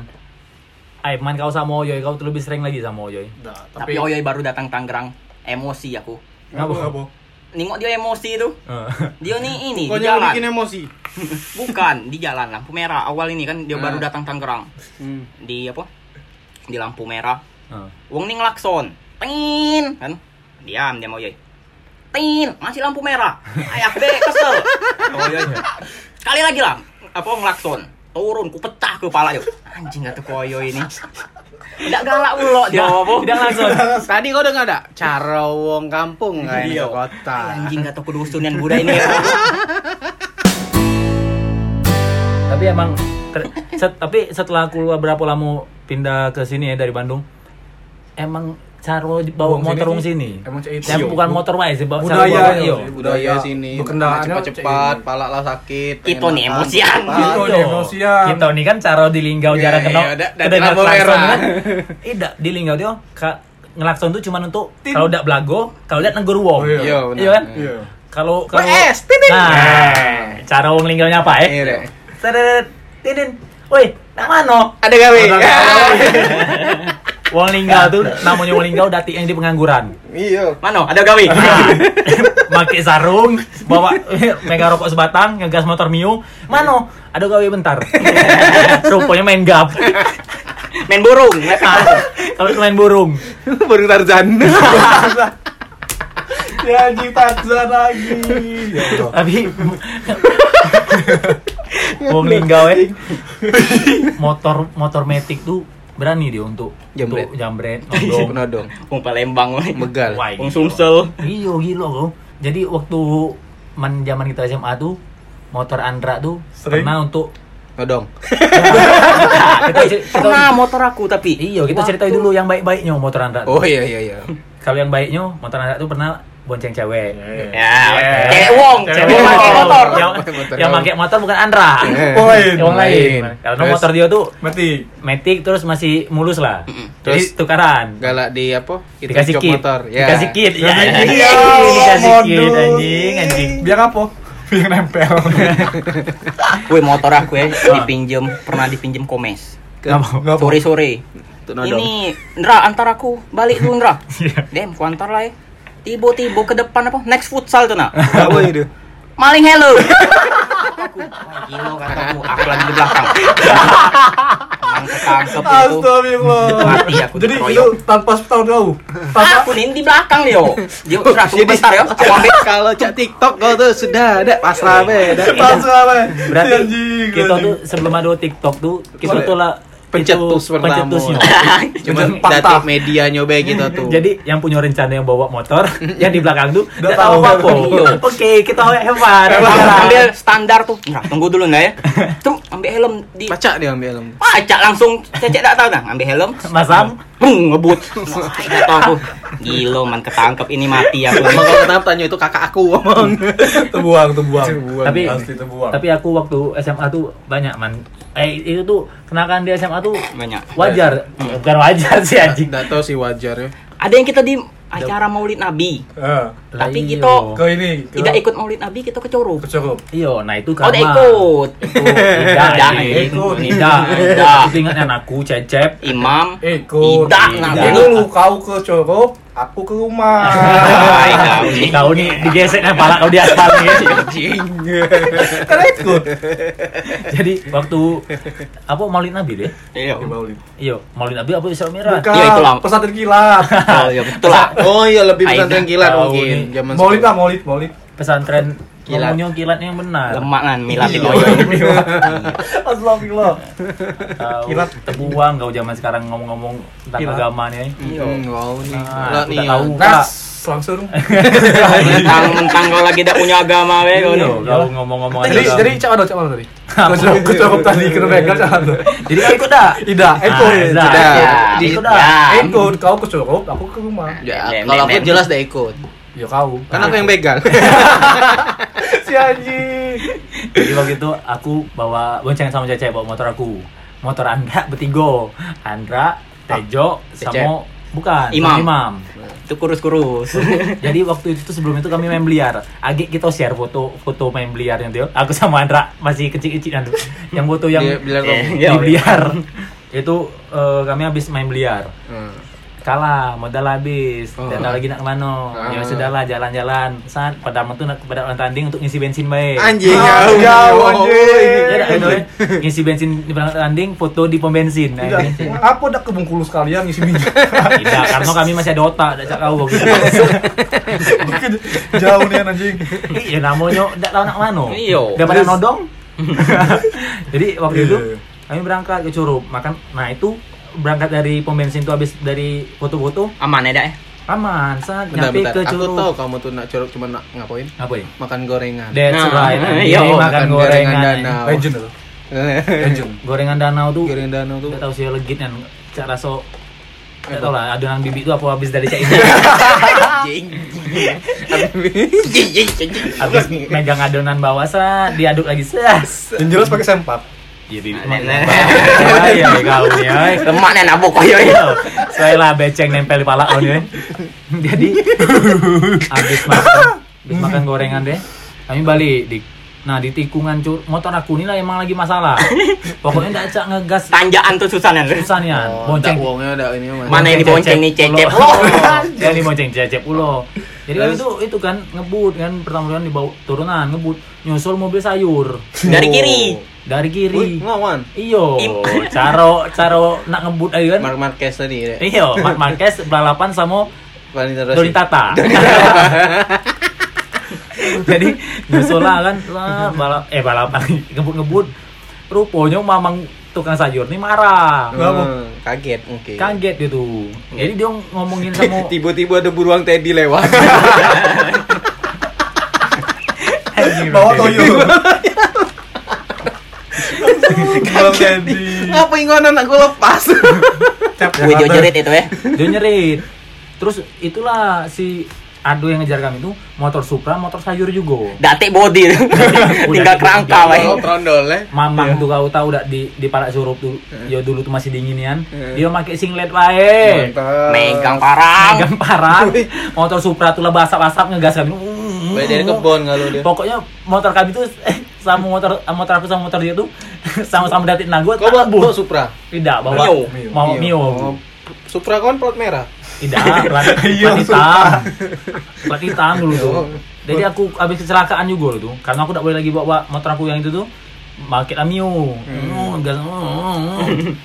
Ay, main kau sama Oyoy, kau tuh lebih sering lagi sama Oyoy. Nah, Tapi, oh iya. Oyoy baru datang Tangerang, emosi aku. Ngapa? Ngapa? Ngapa? Nengok dia emosi itu. Eh, Dia nih ini di Pokoknya lu jalan. bikin emosi. Bukan di jalan lampu merah awal ini kan dia baru datang Tangerang. Hmm. Di apa? Di lampu merah. eh. Wong ning lakson. Tin kan. Diam dia mau yoi. Tin, masih lampu merah. Ayak be kesel. Oh, iya, Sekali lagi lah. Apa ngelakson. Turun ku pecah ke kepala yuk. Anjing gak koyo ini. Enggak galak ulo dia Ya, apa. Tidak langsung. Tadi kau dengar ada cara wong kampung kan di kota. Anjing gak kudu usunian Buddha ini. ya. tapi emang ter- set- tapi setelah aku luar berapa lama pindah ke sini ya dari Bandung, emang caro bawa Wong motor sini wong sih, sini. emang cek itu. Yang bukan motor wae sih, bawa Iya. caro Budaya, bawa- yo. yo. budaya sini Berkendaraan cepat-cepat cek. pala lah sakit Kita nih pengen makan, Iya, emosian. cepat. Kita nih emosian. Kita nih kan caro di linggau Iya, jarak kena. iya, da- da- udah lampu ngelakson merah. kan. Tidak di linggau dia ka- ngelakson tuh cuma untuk kalau udah belago, kalau lihat negur wong. Oh, iya. iya Iya benar kan? Iya. Kalau kalau WS, tinin. Nah, cara wong linggaunya apa ya? Iya, Dek. Teret, tinin. Woi, nak mano? Ada gawe. Iya. Wong linggau tuh namanya wong linggau dati yang di pengangguran. Iya. Mano, ada gawe. Ah. Pakai sarung, bawa eh, mega rokok sebatang, ngegas motor Mio. Mano, ada gawe bentar. Rupanya main gap. Main burung. Kalau itu main burung. Baru Tarzan. Iya, Ya anjing Tarzan lagi. Iya. Ya Allah. Tapi Wong linggau ya. Motor motor metik tuh berani dia untuk Jambret. untuk jambret, Iya, nodong. benar dong Wong Palembang. weh. begal Wah, Wong gila. Sumsel. Iya gila kau. Jadi waktu man zaman kita SMA tuh motor Andra tuh Sering. pernah untuk nodong kita, cer- kita- Pernah motor aku tapi. Iya, kita ceritain dulu yang baik-baiknya motor Andra. tuh. oh iya iya iya Kalau yang baiknya motor Andra tuh pernah bonceng cewek. Ya, Iya. cewek wong, Cewek cewek pakai Yang- motor. Yang, Motor yang kau. pakai motor bukan Andra. Poin. Yang lain. Eh, Lain. Karena Terus? motor dia tuh Mati. metik terus masih mulus lah. Terus? Jadi tukaran. galak di apa Itu Dikasih jok kit. motor ya Dikasih kit. Ya, Dikasih anjing. iya, kit. Dikasih kit Modus. anjing anjing. Iya, Biar apa? Biar nempel. Woi motor aku ya dipinjem pernah dipinjem komes. Enggak Sore sore. Itu nodong. Ini Ndra antar aku balik dulu Ndra. Dem ku antar lah ya. Tiba-tiba ke depan apa next futsal tuh nak. apa itu Maling hello. Aku, "Wah, Gino kataku aku lagi di belakang. Emang ketangkep itu. Astagfirullah. Mati aku Ah! Jadi dikeroyok. lu tanpa tahu tahu. Tanpa Aku nih di belakang dia. Dia Iya, Ndra tunggu bentar ya. Aku ambil Kalau cak TikTok kau tuh sudah ada pasrah be. dak. pasrah apa? Berarti anjing. kita tuh sebelum ada TikTok tuh kita tuh lah Pencetus itu pertama. pencetusnya. cuman Fakta. datuk media nyoba gitu tuh Jadi yang punya rencana yang bawa motor, yang di belakang tuh nggak Nggak tahu tahu. apa. Iya. Oke, kita hewan. ambil standar tuh. Ndra tunggu dulu Ndra ya. Tuh ambil helm di pacak dia ambil helm Pacak langsung cecek tak tahu nah ambil helm Mas Sam, Bung, ngebut. Ay, Gak tau aku. Gila man ketangkep ini mati aku. Emang kau kenapa tanya itu kakak aku ngomong. Terbuang, terbuang. tapi asli terbuang. tapi aku waktu SMA tuh banyak man. Eh itu tuh kenakan di SMA tuh Banyak. wajar, Eh, bukan wajar sih anjing. nggak tahu sih wajar ya Ada yang kita di acara Maulid Nabi. Eh, Lah, Tapi iyo. kita Kau ini. kau- tidak ikut Maulid Nabi, kita kecurup. Kecukup. Iyo, nah itu Kau karma. tidak ikut. Tidak, Tidak, anjing. ikut. tidak, Tidak. Itu ingatnya anakku cecep. Imam. Ikut. Tidak, Jadi nggak. dulu kau ke Cukup, aku ke rumah. Ay, kau ini. Kau nih digesek nih pala kau di aspal nih. Karena ikut. Jadi waktu apa Maulid Nabi deh? Iya. Iya, Maulid Nabi apa Isra Miraj? Bukan. Ya, itulah. Pesantren kilat. Oh, ya betul lah. oh iya lebih pesantren Aida. kilat Tahu mungkin nih. zaman Maulid lah, maulid, maulid. Pesantren Kilat. ngomongnya kilatnya yang benar. Lemak kan milati Iya. koyo. Astagfirullah. Tahu, Kilat. terbuang kau zaman sekarang ngomong-ngomong tentang Kilat. agama nih. iya wow nih Ah, Nggak nih ya. tidak tahu. Nah, langsung. Mentang-mentang kau lagi tidak punya agama we kau Iya, ni. kau ngomong-ngomong Jadi, agama. jadi cak mana, cak mana tadi? Gue cukup tadi kena begal cak mana? jadi kau ikut dah. Ah, Tidak, ikut. Tidak. Tidak. Ya, Di- itu Iya. dah. dah. Ikut, kau ke Cukup, aku ke rumah. ya Dem, kalau dem, aku dem. jelas deh ikut Ya kau. kan aku yang begal si anjing. Jadi waktu itu aku bawa bonceng sama Cece bawa motor aku. Motor Andra bertiga. Andra, Tejo, Cecep. sama Bukan, Imam. bukan imam. Itu kurus-kurus. Jadi waktu itu tuh sebelum itu kami main biliar. Agik kita share foto foto main biliar yang dia. Aku sama Andra masih kecil-kecilan tuh. Yang foto yang Dia bilang kamu. di biliar. itu eh, kami habis main biliar. Hmm. Kalah, modal habis. Dan lagi nak kemana? Ya sudahlah jalan-jalan. Saat pada itu nak kepada orang tanding untuk ngisi bensin baik. Anjing, Oh, iya. Ah, jauh, jauh, anjing. Ya, dah, itu, eh. ngisi bensin di perangkat tanding, foto di pom bensin. Iya. Nah, ini. Apa dak ke Bengkulu sekalian ngisi minyak? Tidak, karena kami masih ada otak, tidak cak kau gitu. Jauh nih anjing. Iya, namanya tidak tahu nak mano. Iya. Daripada nodong. Jadi waktu Iya, itu iya, iya. kami berangkat ke Curup, makan. Nah itu berangkat dari pom bensin itu habis dari foto-foto Aman ya, Dak? ya? aman, saat Bentar, nyampe bentar. ke Aku Curup. tahu kamu tuh nak curug cuma nak ngapain? Ngapain? Makan gorengan. That's Nah, right. Iya, iya, makan makan gorengan gorengan. danau. Legend Eh. itu. Legend. Gorengan danau tuh gorengan danau tuh. Gak tau sih legit kan Cak Raso Gak tau lah adonan bibi itu apa habis dari Cak ini Habis megang adonan bawah sa Diaduk lagi sas Yang jelas pakai sempak. Iya bibi Nah, nah, Ya ya kau nih oi. Lemak nih nabok koyo ya. Saya lah beceng nempel di pala on ya Jadi Habis makan Habis makan gorengan deh Kami balik di Nah di tikungan cur motor aku ini lah emang lagi masalah Pokoknya gak cak ngegas Tanjakan tuh susah nih. susah nih An. Oh, bonceng tak uangnya ada ini mas. Mana ini bonceng nih cecep lo. Ya ini bonceng cecep ulo. Jadi kan itu itu kan ngebut kan pertama kali dibawa turunan ngebut nyusul mobil sayur Dari kiri. dari Wih, kiri. ngawan. Iyo, Im- caro caro nak ngebut aja kan. Mark Marquez tadi ya. Iyo, Mark Marquez balapan sama Valentino Rossi. Doni Tata. Jadi nyusul lah kan lah, bala- eh balapan ngebut-ngebut. Rupanya mamang tukang sayur nih marah. Hmm, kaget mungkin. Kaget dia tuh. Jadi dia ngomongin sama Tiba-tiba ada beruang Teddy lewat. Bawa toyo. Malam Teddy. Apa ingon anak gue lepas? Oh, Gue jojerit itu ya. dia nyerit terus itulah si Ado yang ngejar kami itu motor Supra motor sayur juga Datik body. Tinggal kerangka wae. Oh, trondol ya. Mamang tuh kau tahu udah di di parak surup tuh ya Iya. dulu tuh masih dinginian dia pakai singlet wae Megang parang. megang parang motor Supra tuh lah basap-basap ngegas kami Hmm. Baik dari kebon kalau dia. pokoknya motor kami tuh eh, sama motor motor aku sama motor dia tuh sama-sama datit nago Kau bawa bawa Supra. tidak bawa Mio. mau Mio, Oh, Supra kan plat merah. Tidak, plat, plat hitam. Plat hitam dulu tuh. Jadi aku habis kecelakaan juga dulu tuh. Karena aku tidak boleh lagi bawa motor aku yang itu tuh. Market Amio. Hmm. gas, hmm, hmm, hmm.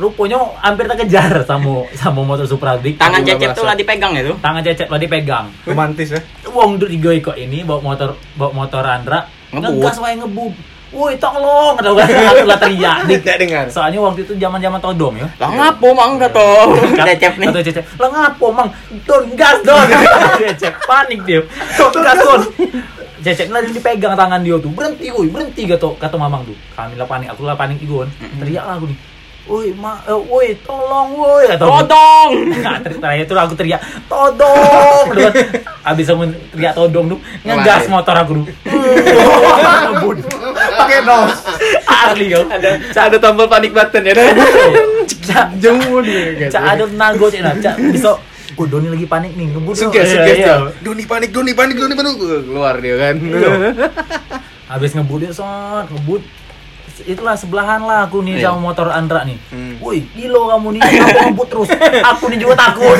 Rupanya hampir terkejar sama sama motor Supra Dik. Tangan cecep tuh lah dipegang itu. tangan cecep lah dipegang. Romantis ya. Wong duduk di gue kok ini bawa motor bawa motor Andra Ngebut. ngegas wae ngebut. Woi, tolong, ada orang aku lah teriak. Dik. Tidak dengar. Soalnya waktu itu zaman-zaman todom ya. Lah ngapo mang kata cecep nih. Atau cecep. Lah ngapo, Mang? Don gas don. cecep panik dia. Don gas don. Cecep lagi dipegang tangan dia tuh. Berhenti, woi, berhenti kata kata Mamang tuh. Kami lah panik, aku lah panik igon. Teriak lah aku nih. Woi, ma, eh, woi, tolong, woi, kata aku. Todong. Nah, ter- terakhir itu aku teriak todong Terus, Abis aku teriak todong tuh Ngegas motor aku tuh Ngebut. Pakai nos. Asli yo Ada tombol panik button ya. Jauh dia. Cak ada nago cek nah. Cak besok Gue Doni lagi panik nih. Ngebut. Suges, Iya, suges iya. dia. Doni panik, Doni panik, Doni panik. Keluar dia kan. Iya. Habis ngebut dia son, ngebut. Itulah sebelahan lah aku nih sama motor Andra nih. Woi, gilo kamu nih. Aku ngebut terus. Aku nih juga takut.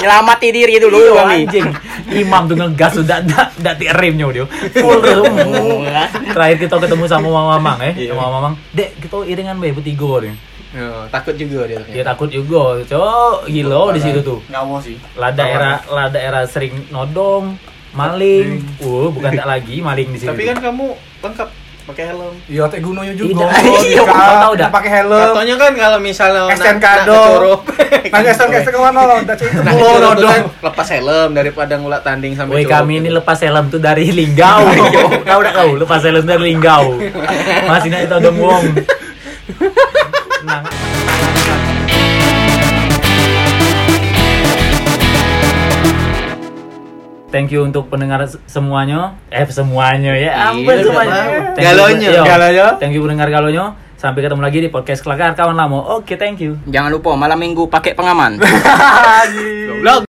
Nyelamati diri Iya, dulu kami. anjing. Imam tuh ngegas sudah dak dak ti remnya dia. Full terus. Terakhir kita ketemu sama Mama Mamang eh. Sama Mama Mamang. Dek, kita iringan bae bertiga nih. Yo, takut juga dia. Dia takut juga. Cok, gilo di situ tuh. Ngawo sih. Lah daerah lah daerah sering nodong, maling. Uh, bukan tak lagi maling di situ. Tapi kan kamu lengkap pakai helm. Iya, teh gunonya Tidak. juga. Iya, Kak. kau tahu dah. Pakai helm. Katanya kan kalau misalnya nak- STNK nak dong. kecurup. Nang STNK STNK mana lo? Dak cerita Nah, pulau kecurup lo tuh dong. kan lepas helm daripada ngulak tanding sampai Woi kami ini lepas helm tuh dari Linggau. Kau udah tahu lepas helm dari Linggau. Masih nanti tahu dong Wong. Nah, Thank you untuk pendengar se- semuanya. Eh semuanya ya. Ampun Iya, semuanya. nggak mau. Thank you- Galonyo. Yo. Galonyo. Thank you pendengar galonyo. Sampai ketemu lagi di podcast Kelakar Kawan Lamo. Oke, thank you. Jangan lupa malam minggu pakai pengaman. Goblok.